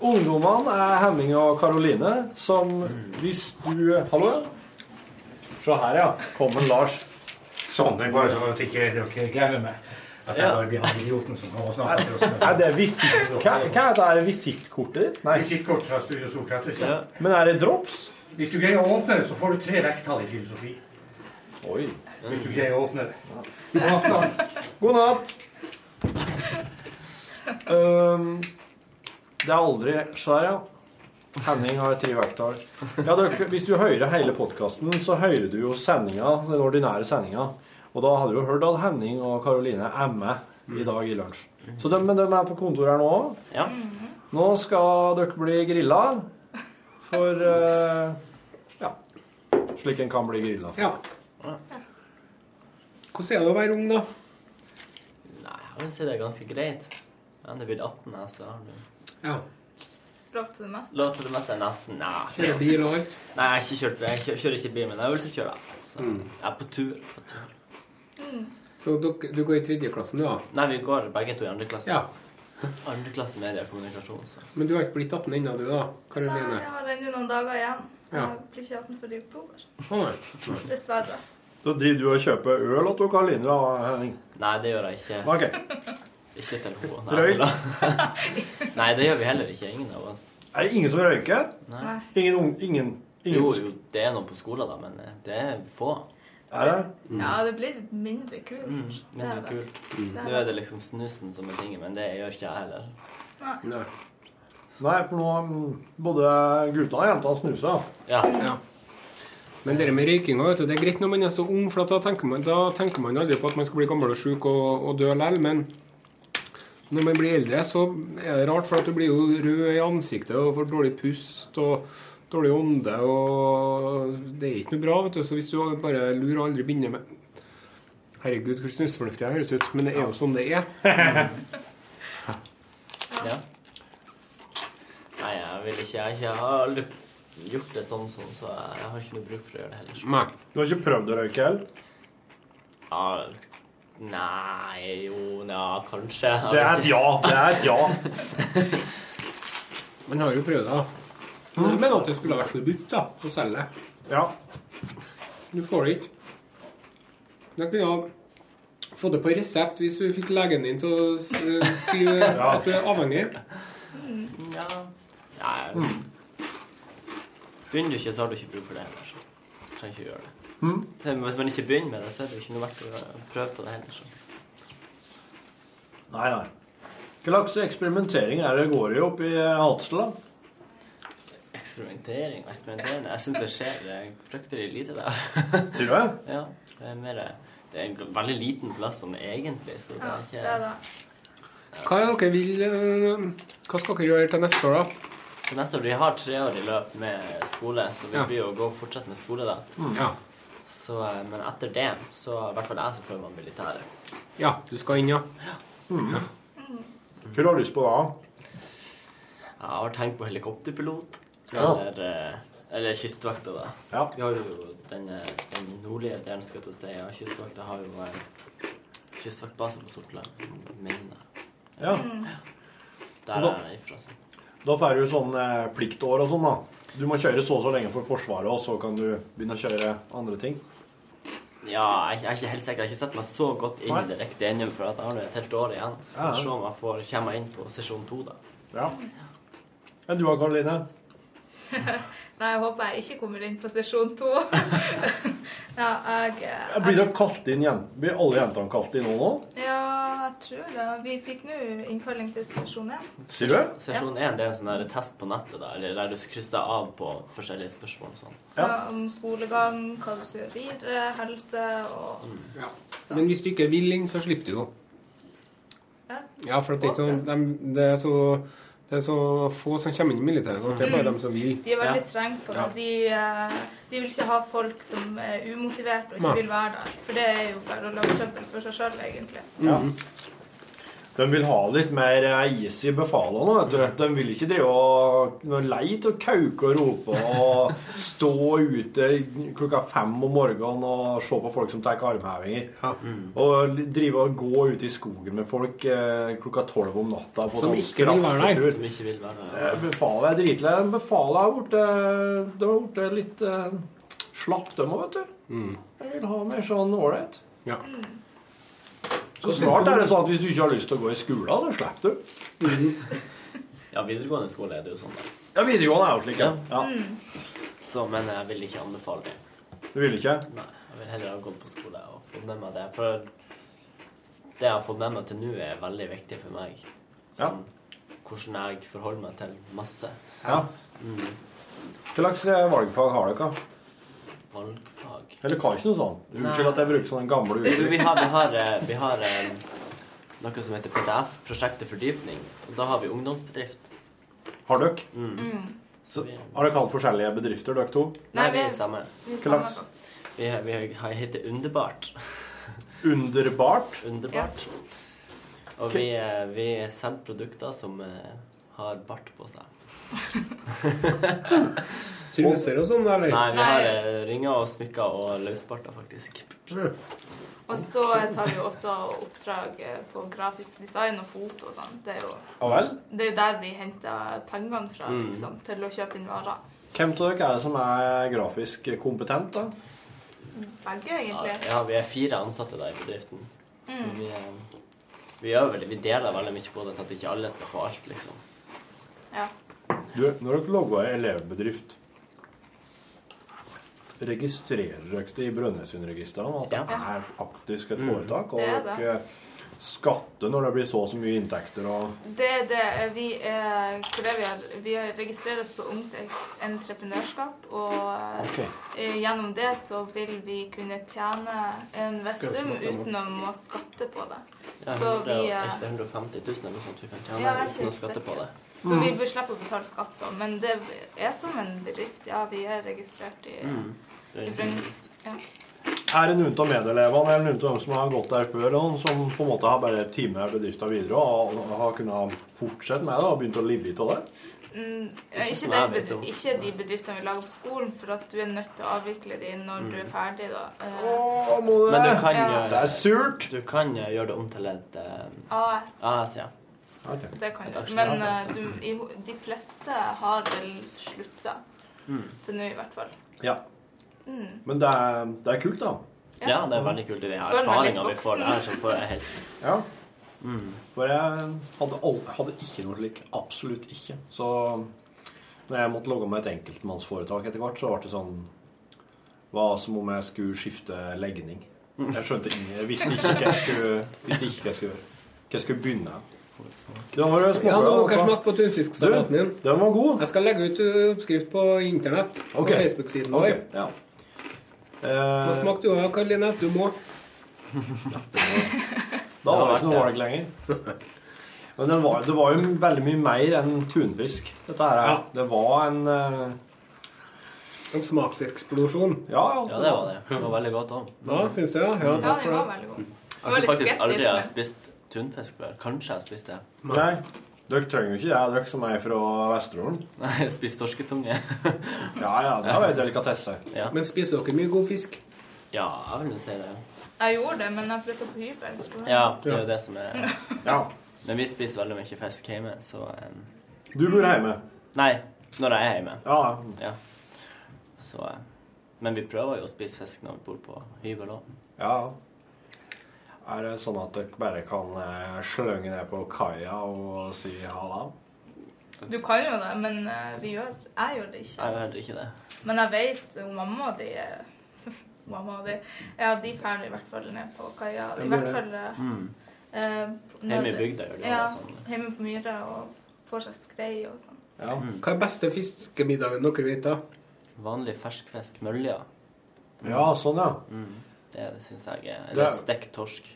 ungdommene er Henning og Karoline, som hvis du Hallo? Se her, ja. Kommer Lars.
Sånn, det er bare så at ikke dere glemmer meg. At jeg var den idioten som har snakket til oss.
Er det visitt... Hva, hva er det her visittkortet ditt?
Visittkort fra Studio Sokrates. Ja.
Men er det drops?
Hvis du greier å åpne det, så får du tre vekttall i filosofi.
Oi.
Hvis du greier å åpne det. God natt, da.
God natt. Ehm, det er aldri Skjær, ja. Henning har tre verktall. Ja, dere- hvis du hører hele podkasten, så hører du jo sendinga, den ordinære sendinga. Og da har du jo hørt at Henning og Karoline er med i dag i lunsj. Så de, men de er på kontoret her nå òg.
Ja.
Nå skal dere bli grilla for eh, Ja. Slik en kan bli grilla.
Ja. Hvordan er det å være ung, da?
Nei, jeg vil si det er ganske greit. Jeg er blitt 18, jeg, så har du
Ja.
Lov til det meste.
Lov til det meste, nesten. Nei.
Kjører bil og alt?
Nei, jeg har ikke kjørt, jeg kjører, kjører ikke bil, men jeg er øvelseskjører. Så
Mm.
Jeg er på tur. På tur.
Så dere- du går i tredjeklassen, du, da?
Nei, vi går begge to i andre klasse.
Ja.
Andre klasse media og kommunikasjon. Så.
Men du har ikke blitt 18 ennå, du, da?
Nei,
Karoline?
jeg har ennå noen dager igjen.
Ja.
Jeg blir ikke 18 før i oktober.
Å, nei.
Dessverre.
Da driver du og kjøper øl til Karoline, da, Henning?
Nei, det gjør jeg ikke. Ikke til henne. Nei,
Røyk?
til henne. Nei, det gjør vi heller ikke. Ingen av oss.
Er det ingen som røyker?
Nei.
Ingen ung... Ingen, ingen
Jo, jo, det er noen på skolen, da, men eh, det er få.
Er det?
Mm.
Ja, det blir mindre kult.
Mm, men det er kult.
Mm.
Nå er det liksom snusen som er tingen, men det gjør ikke jeg heller.
Nei. Nei, for nå mm, både gutta og jenta snuser.
Ja. Men det der med røykinga, vet du, det er greit når man er så ung, for at da, tenker man, da tenker man aldri på at man skal bli gammel og sjuk og, og dø likevel. Men når man blir eldre, så er det rart, for at du blir jo rød i ansiktet og får dårlig pust og dårlig ånde, og det er ikke noe bra, vet du. Så hvis du bare lurer og aldri begynner med Herregud, hvor snusfornuftig jeg høres ut, men det er jo sånn det er.
Ja. Nei, jeg vil ikke. Jeg, har ikke- jeg har aldri gjort det sånn, sånn, så jeg har ikke noe bruk for å gjøre det heller.
Nei. Du har ikke prøvd å røyke heller?
Ja, nei, jo, nja, kanskje. Jeg
Det er
vet
et
ikke.
ja. Det er et ja.
Man har jo prøvd det, da. Men at det skulle ha vært forbudt da, å selge.
Ja.
Du får det ikke. Du kunne ha fått det på resept hvis du fikk legen din til å s- skrive
Ja.
at du er avhengig.
Ja. Nei. Begynner du ikke, så har du ikke bruk for det heller. Så. Du trenger ikke å gjøre det.
Mm.
Så Hvis man ikke begynner med det, så er det jo ikke noe verdt å prøve på det heller. Så.
Nei, nei. Hva slags eksperimentering er det går i oppe i eh, Hadsel, da?
Eksperimentering og eksperimentering Jeg syns det skjer eh, fryktelig lite der.
Sier du det?
Ja. Det er, mer, eh, det er en g- veldig liten plass sånn egentlig, så det
Ja,
er
det er
ikke
det.
Hva er dere vil eh, Hva skal dere gjøre til neste år, da?
Så neste år, Vi har tre år i løp med skole, så vi
Ja.
blir jo å gå og fortsette med skole da.
Mm. Ja.
Så, eh, men etter det, så i hvert fall jeg, så føler meg militær.
Ja, du skal inn, ja.
Mm. Hva har du lyst på da?
Jeg har tenkt på helikopterpilot.
Ja.
Eller, eh, eller kystvakta, da. Vi har jo den, eh, den nordlige delen, skal jeg til å si. Ja, kystvakta har jo eh, kystvaktbase på Sortland. Mener jeg.
Ja.
Mm. Der
Da-
er jeg ifra. Så.
Da får du sånn eh, pliktår og sånn, da. Du må kjøre så og så lenge for Forsvaret, og så kan du begynne å kjøre andre ting.
Ja, jeg, jeg er ikke helt sikker. Jeg har ikke sett meg så godt inn
Nei.
direkte ennå, for at jeg har nå et helt år igjen. Så
Ja, ja.
får vi se om jeg får komme inn på sesjon to, da.
Ja. Men du da, Karoline?
Nei, jeg håper jeg ikke kommer inn på sesjon to. ja, jeg, jeg
Blir dere kalt inn igjen? Blir alle jentene kalt inn nå? nå?
Ja, jeg tror det. Vi fikk nå innkalling til sesjon én.
Sier du?
Sesjon én det er en sånn der test på nettet, da, eller der du krysser av på forskjellige spørsmål og sånn.
Ja, Om skolegang, hva du skal gjøre videre, helse og
Ja. Men hvis du ikke vil inn, så slipper du jo. Ja, for at det, er ikke noen, dem- det, er så, det er så få som kommer inn i militæret. nå. Det er bare dem som vil.
De er veldig strenge på det.
Ja.
De, eh, de vil ikke ha folk som er umotiverte og ikke
Nei.
vil være der. For det er jo bare å lage trøbbel for seg sjøl, egentlig.
Ja. De vil ha litt mer eh, is i befalene, vet
Mm.
du. De vil ikke drive og de er lei til å kauke og rope og stå ute klokka fem om morgenen og se på folk som tar armhevinger. Og li- drive og gå ute i skogen med folk eh, klokka tolv om natta på
Som
sånn
ikke vil være der.
straffetur.
Som ikke vil være
Eh, Befalet er dritlei. De Befalet er borte De har borte litt eh, slapp, dem òg, vet du.
Mm.
Jeg vil ha mer sånn ålreit.
Ja.
Så snart er det sånn at hvis du ikke har lyst til å gå i skolen, så slipper du.
Ja, videregående skole er det jo sånn, da.
Ja, videregående er jo slik, ja. ja.
Så, men jeg vil ikke anbefale det.
Du vil ikke?
Nei, jeg vil heller ha gått på skole og fått med meg det. For det jeg har fått med meg til nå, er veldig viktig for meg. Sånn, Hvordan jeg forholder meg til masse.
Ja.
Mm,
Hva slags eh, valgfag har dere?
valgfag.
Eller hva er ikke noe sånn? Unnskyld at jeg bruker sånne gamle
Jo, Vi
uttrykk.
har, vi har, eh, vi har eh, noe som heter PTF, Prosjekt til fordypning. Og da har vi ungdomsbedrift.
Har dere?
Mm.
Så, har dere hatt forskjellige bedrifter, dere to?
Nei, vi er samme.
Vi er samme folk.
Vi, har- vi har- heter Underbart.
Underbart?
Underbart. Og vi, eh, vi selger produkter som eh, har bart på seg.
Truser og sånn, eller?
Nei, vi har eh, ringer og smykker og løsbarter, faktisk.
Og så tar vi jo også oppdrag eh, på grafisk design og foto og sånn. Det er jo
Ja vel.
det er jo der vi henter pengene fra,
Mm.
liksom, til å kjøpe inn varer.
Hvem av dere er det som er grafisk kompetent, da?
Begge, egentlig.
Ja, vi er fire ansatte da i bedriften. Så
Mm.
vi, eh, vi, gjør veldig, vi deler veldig mye på det, sånn at ikke alle skal få alt, liksom.
Ja.
Du, når dere logger en elevbedrift, registrerer dere det i Brønnøysundregistrene at det er faktisk et foretak? Og
Det er det.
dere skatter når det blir så og så mye inntekter og
Det er det eh, vi er, hva er det vi har, vi har registrerer oss på Ungt Entreprenørskap, og eh,
Ok.
eh, gjennom det så vil vi kunne tjene en viss
Skal vi
sum
snakke om-
uten å må skatte på det.
Ja,
Så vi,
det er
eh,
ikke 150 000 eller noe sånt vi kan
Ja,
tjene
jeg er
uten å
ikke
skatte på det.
så vi bør slippe å betale skatt, da. Men det er som en bedrift. Ja, vi er registrert i,
Mm.
i Brønnøys- ja.
Er det noen av medelevene eller noen av dem som har gått der før, eller noen som på en måte har bare timet bedriften videre og har- har kunnet fortsette med det og begynt å leve litt av det?
Mm,
Ikke
ikke,
som
de
jeg vet
bedri-
om.
ikke de bedriftene vi lager på skolen, for at du er nødt til å avvikle de når
Mm.
du er ferdig, da. Eh,
må
Men du kan
Ja.
gjøre
Det er
surt!
Du kan eh, gjøre det om til et eh,
AS.
AS, ja.
Det kan
Et
du.
aksjeselskap,
Men eh,
altså.
du, i, ho- de fleste har vel slutta.
Mm.
Til nå, i hvert fall.
Ja.
Mm.
Men det er, det er kult, da.
Ja. Ja, det er veldig
kult. Vi
Føler meg erfaringen litt vi får voksen. der, så
får jeg helt
Ja. Mm. For jeg hadde, al- hadde ikke noe slik. Absolutt ikke. Så når jeg måtte logge med et enkeltmannsforetak etter hvert, så ble det sånn var som om jeg skulle skifte legning. Jeg skjønte ingen, jeg visste ikke hva jeg skulle, visste ikke hva jeg skulle gjøre. Hva jeg skulle begynne. Det var jo
Ja, nå må dere
småbra,
smake på tunfisksalaten min.
Den var god.
Jeg skal legge ut ø, oppskrift på internett. På
Ok.
Facebook-siden vår.
Ok, ja. Eh,
Hva smakte du av, Karoline? Du må.
Da var det ikke noe valg lenger. Men det var, det var jo veldig mye mer enn tunfisk. Dette her, Det var en eh,
En smakseksplosjon.
Ja,
Ja, det var det. Det var veldig godt òg.
Ja, syns jeg. Ja, takk for det.
Mm. Jeg har faktisk aldri har spist tunfisk før. Kanskje jeg spiste det.
Nei. Dere trenger jo ikke det, dere som er fra Vesterålen.
Nei, jeg spiste torsketunge.
ja, ja, det var en delikatesse.
Men spiser dere mye god fisk?
Ja, jeg vil jo si det.
Jeg gjorde det, men jeg flytta på hybel. Så.
Ja, det er jo det som er
Ja.
Men vi spiser veldig mye fisk hjemme, så em,
Du bor hjemme?
Nei, når jeg er hjemme.
Ja.
Så eh, Men vi prøver jo å spise fisk når vi bor på hybel òg.
Ja. Er det sånn at dere bare kan eh, slønge ned på kaia og si halla?
Du kan jo det, men eh, vi gjør, jeg gjør det ikke.
Jeg gjør heller ikke det.
Men jeg vet jo mamma og de eh, Mamma og de Ja, de drar i hvert fall ned på kaia.
De
I
gjør
hvert
det.
fall eh,
Mm.
eh, når
Hjemme i
det-
bygda gjør de
ja,
det
sånn. Hjemme på Myra og får seg skrei og sånn.
Mm.
Hva er beste fiskemiddagen dere vet, da?
Vanlig ferskfisk, mølja.
Ja, sånn, ja.
Mm. Det, det syns jeg er
Det
Eller
er-
stekt torsk.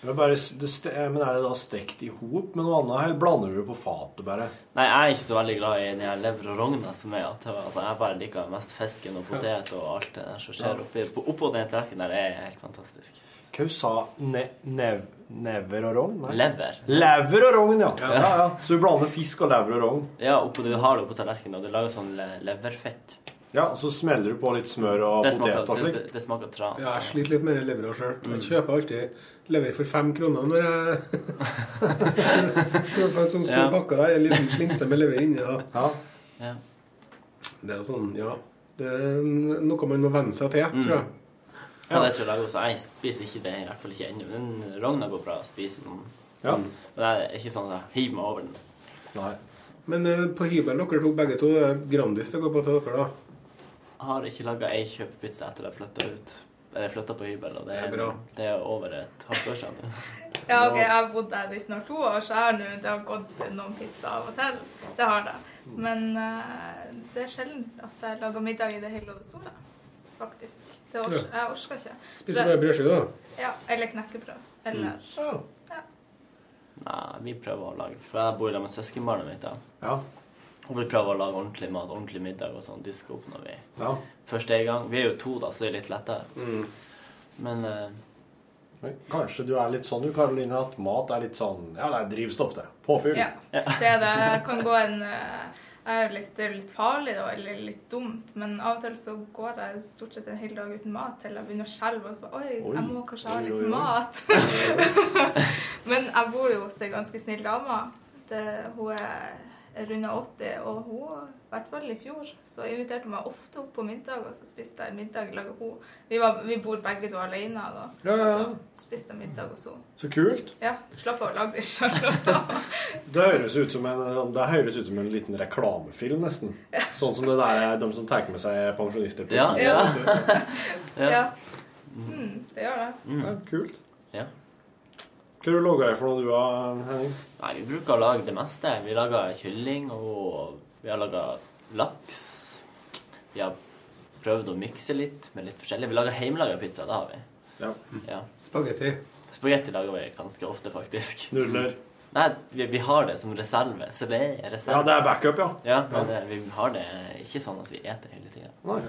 Det er bare, det ste men er det da stekt i hop med noe annet, eller blander du det på fatet bare?
Nei, jeg er ikke så veldig glad i den her lever og rogna som er at at jeg bare liker mest fisken og potet og alt det der som skjer
Ja.
oppi på- Oppå den tallerkenen der er helt fantastisk.
Hva sa ne nev never og rogn? Nei.
Lever.
Lever og rogn, ja. ja. ja, Så du blander fisk og lever og rogn?
Ja, oppå det, du har det oppå tallerkenen, og du lager sånn le leverfett.
Ja, og så smeller du på litt smør og
Det smaker, Mm.
potet og
det,
slik?
det, det smaker trans.
Ja, jeg sliter litt med det levra sjøl. Jeg kjøper alltid lever for fem kroner når jeg kjøper en sånn stor
Ja.
pakke der. En liten slinse med lever inni. da.
Ja.
Det er sånn, ja. Det er noe man må venne seg til,
Mm.
tror jeg.
Ja, det tror jeg også. Jeg spiser ikke det, i hvert fall ikke ennå. Men rogna går bra å spise sånn.
Ja.
Men det er ikke sånn at jeg hiver meg over den.
Nei.
Men eh, på hybelen dere to, begge to, det er Grandis det går på til dere, da.
Jeg har ikke laga ei kjøpepizza etter jeg flytta ut. Eller flytta på hybel, og det er, det er over et halvt år siden.
Ja, ok, Jeg har bodd der i snart to år, så jeg har nå- det har gått noen pizza av og til. Det har det. Men eh, det er sjelden at jeg lager middag i det hele og det store, faktisk. Det ors
Ja.
Jeg orker ikke.
Spiser bare brødskive, da.
Ja, eller knekkebrød. Eller
Nei, vi prøver å lage For jeg bor sammen med søskenbarnet mitt. da.
Ja.
Og vi prøver å lage ordentlig mat, ordentlig middag og sånn. Diske opp når vi
Ja.
Første gang. Vi er jo to, da, så det er litt lettere.
Mm.
Men eh,
Men Kanskje du er litt sånn du, Karoline, at mat er litt sånn Ja, det er drivstoff, det. Påfyll.
Ja, det er det. Jeg kan gå en eh, Jeg er litt, det er jo litt farlig da, eller litt dumt, men av og til så går jeg stort sett en hel dag uten mat til jeg begynner å skjelve og så bare Oi, jeg må kanskje ha
Oi,
litt
oi, oi.
mat. men jeg bor jo hos ei ganske snill dame. Det, hun er runda 80, og hun, i hvert fall i fjor, så inviterte hun meg ofte opp på middag, og så spiste jeg middag i lag med henne. Vi, var- vi bor begge to alene da,
Ja, ja, ja.
så spiste jeg middag hos henne.
Så kult.
Ja, slapp av å lage det sjøl også.
Det høres, ut som en, det høres ut som en liten reklamefilm, nesten. Sånn som det der er de som tar med seg pensjonister på
Ja,
kino.
ja.
ja. Mm, det gjør det.
Ja, kult.
Ja.
Hva har du laga for noe du har, Henning?
Nei, Vi bruker å lage det meste. Vi lager kylling, og vi har laga laks. Vi har prøvd å mikse litt med litt forskjellig. Vi lager hjemmelaga pizza. Det har vi.
Ja.
Spagetti.
Spagetti lager vi ganske ofte, faktisk.
Nudler.
Nei, vi, vi har det som reserve. CB er reserve.
Ja, det er backup, ja.
Ja, men
Ja.
Det, vi har det ikke sånn at vi eter hele tida.
Nei.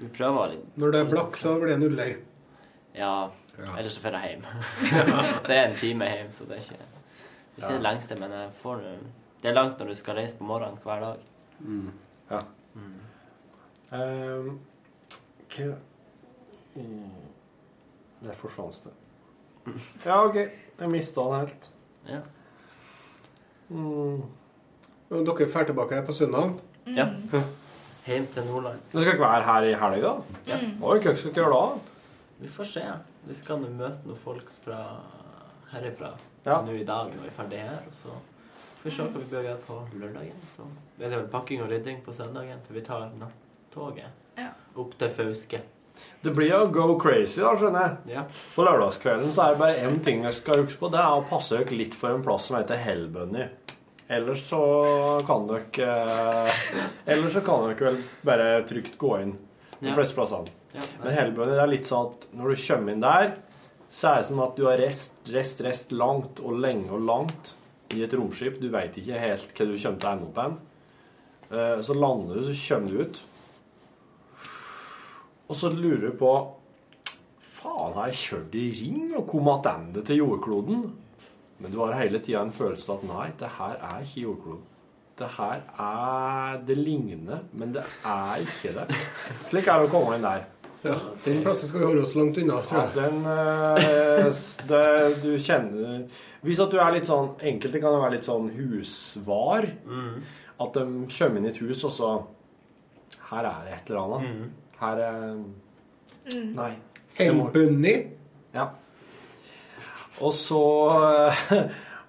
Vi prøver litt.
Når det er blakk, så blir det nuller.
Ja, ellers så drar jeg hjem. det er en time hjem, så det er ikke, det er ikke
Ja.
det lengste. Men jeg får, det er langt når du skal reise på morgenen hver dag.
Ja.
Mm.
Ehm, hva- Mm. Der forsvant det. Ja, OK. Jeg mista den helt.
Ja.
Mm.
Og Dere drar tilbake her på søndag.
Ja. Hjem til Nordland.
Du skal ikke være her i helga?
Ja.
Oi, hva skal dere gjøre da?
Vi får se. Vi skal nå møte noen folk fra herifra
Ja.
nå i dag når vi er ferdig her. Og så får vi se hva vi bør gjøre på lørdagen. Så er det vel pakking og rydding på søndagen, for vi tar nattoget opp til Fauske.
Det blir jo go crazy, da, skjønner jeg.
Ja.
På lørdagskvelden så er det bare én ting dere skal huske på. Det er å passe dere litt for en plass som heter Hellbunny. Ellers så kan dere eh, Ellers så kan dere vel bare trygt gå inn de
Ja.
fleste plassene.
Ja.
Men Hellbunny det er litt sånn at når du kommer inn der, så er det som at du har rest, rest, rest langt og lenge og langt i et romskip. Du veit ikke helt hva du kommer til å ende opp hen. Eh, Så lander du, så kommer du ut. Og så lurer du på Faen, har jeg kjørt i ring og kommet tilbake til jordkloden? Men du har hele tida en følelse av at nei, det her er ikke jordkloden. Det her er Det ligner, men det er ikke det. Slik er det å komme inn der.
Ja, den plassen skal vi holde oss langt unna, tror jeg.
Ja, den, eh, s- det, du kjenner Hvis at du er litt sånn Enkelte kan jo være litt sånn husvar.
Mm.
At de kommer inn i et hus, og så Her er det et eller annet.
Mm.
Her er Nei.
Hellbunny.
Ja. Og så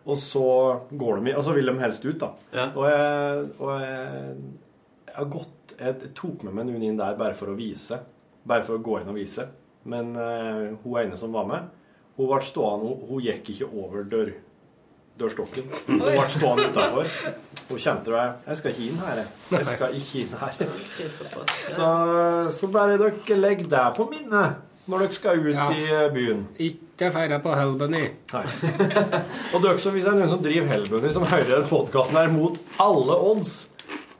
Og så går de i Og så vil de helst ut, da. Og jeg, og jeg, jeg har gått Jeg tok med meg noen inn der bare for å vise. Bare for å gå inn og vise. Men eh, hun ene som var med, hun ble stående Hun, hun gikk ikke over dør, dørstokken. Hun
Oi.
ble stående utafor. Hun kjente det. Jeg skal ikke inn her, jeg. Jeg skal ikke inn her. Så, så bare dere legger det på minnet når dere skal ut
Ja.
i eh, byen.
Ikke feire på Hellbunny.
Og dere som hvis det er noen som driver Hellbunny, som hører den podkasten her mot alle odds,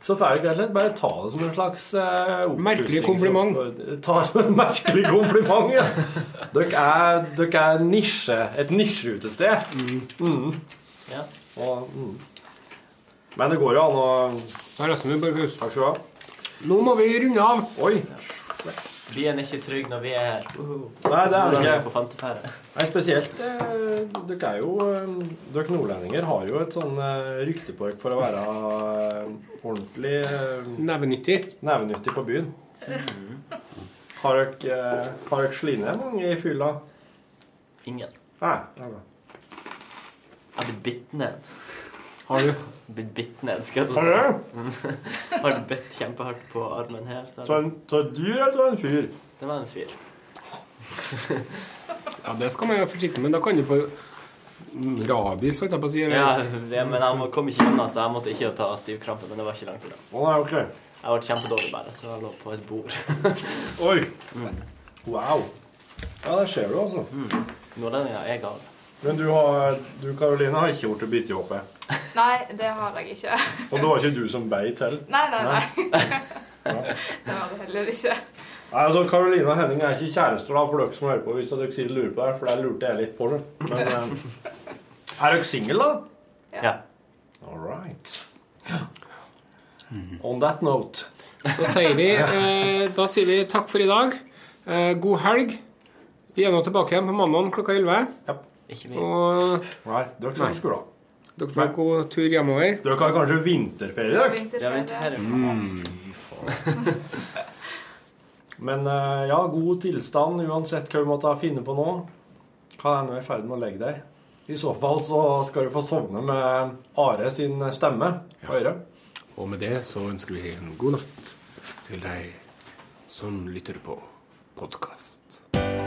så får dere rett og slett bare ta det som en slags eh, oppussing.
Merkelig kompliment.
Så- Ta det som en merkelig kompliment, ja. Dere er, dere er nisje, et nisjeutested. Mm.
Ja.
Og, mm. Men det går jo an å
Her er Snu Borghus.
Takk skal du ha.
Nå må vi runde av.
Oi.
Byen er ikke trygg når vi er her. Uhu.
Nei, det er det
Nordland
ikke.
På Fanteferde.
Nei, spesielt eh, Dere er jo eh, Dere nordlendinger har jo et sånn eh, rykte på dere for å være eh, ordentlig eh,
Nevenyttig.
Nevenyttig på byen. Har dere, eh, har dere slinet mange i fylla?
Ingen.
Nei. nei, nei.
Jeg har blitt bitt ned.
Har du?
Blitt bitt ned, skal jeg
Har
si. Mm. Har bitt kjempehardt på armen her. Så
Så en, så et dyr eller en fyr?
Det var en fyr.
Ja, det skal man være forsiktig med. Da kan du få mm, rabies, holdt jeg på å si. eller-
Ja, ja, men jeg må- kom ikke unna, så jeg måtte ikke ta stivkrampe. Men det var ikke langt unna.
Å nei, ok.
Jeg ble kjempedårlig bare, så jeg lå på et bord.
Oi! Wow. Ja, der ser du, altså.
Nordlendinger er gale.
Men du, har, du Karoline, har ikke gjort det bitt i håpet.
Nei, det har jeg ikke.
Og det var ikke du som beit til?
Nei, nei, nei. Det var det heller ikke.
Nei, altså, Karoline og Henning er ikke kjærester, da, for dere som hører på. hvis dere sier lurer på det, her, for der lurte jeg litt på det. Men eh, er dere single da?
Ja.
All right. On that note.
Så sier vi, eh, da sier vi takk for i dag. Eh, god helg. Vi er nå tilbake igjen på mandag klokka 11.
Ikke
vi.
Og
Nei, dere skal
Nei.
på skolen.
dere får god tur hjemover.
Dere har kanskje vinterferie, dere?
Ja, vinterferie.
Men eh, ja, god tilstand uansett hva vi måtte finne på nå. Hva er nå i ferd med å legge deg? I så fall så skal du få sovne med Are sin stemme på øret.
Og med det så ønsker vi en god natt til deg som lytter på podkast.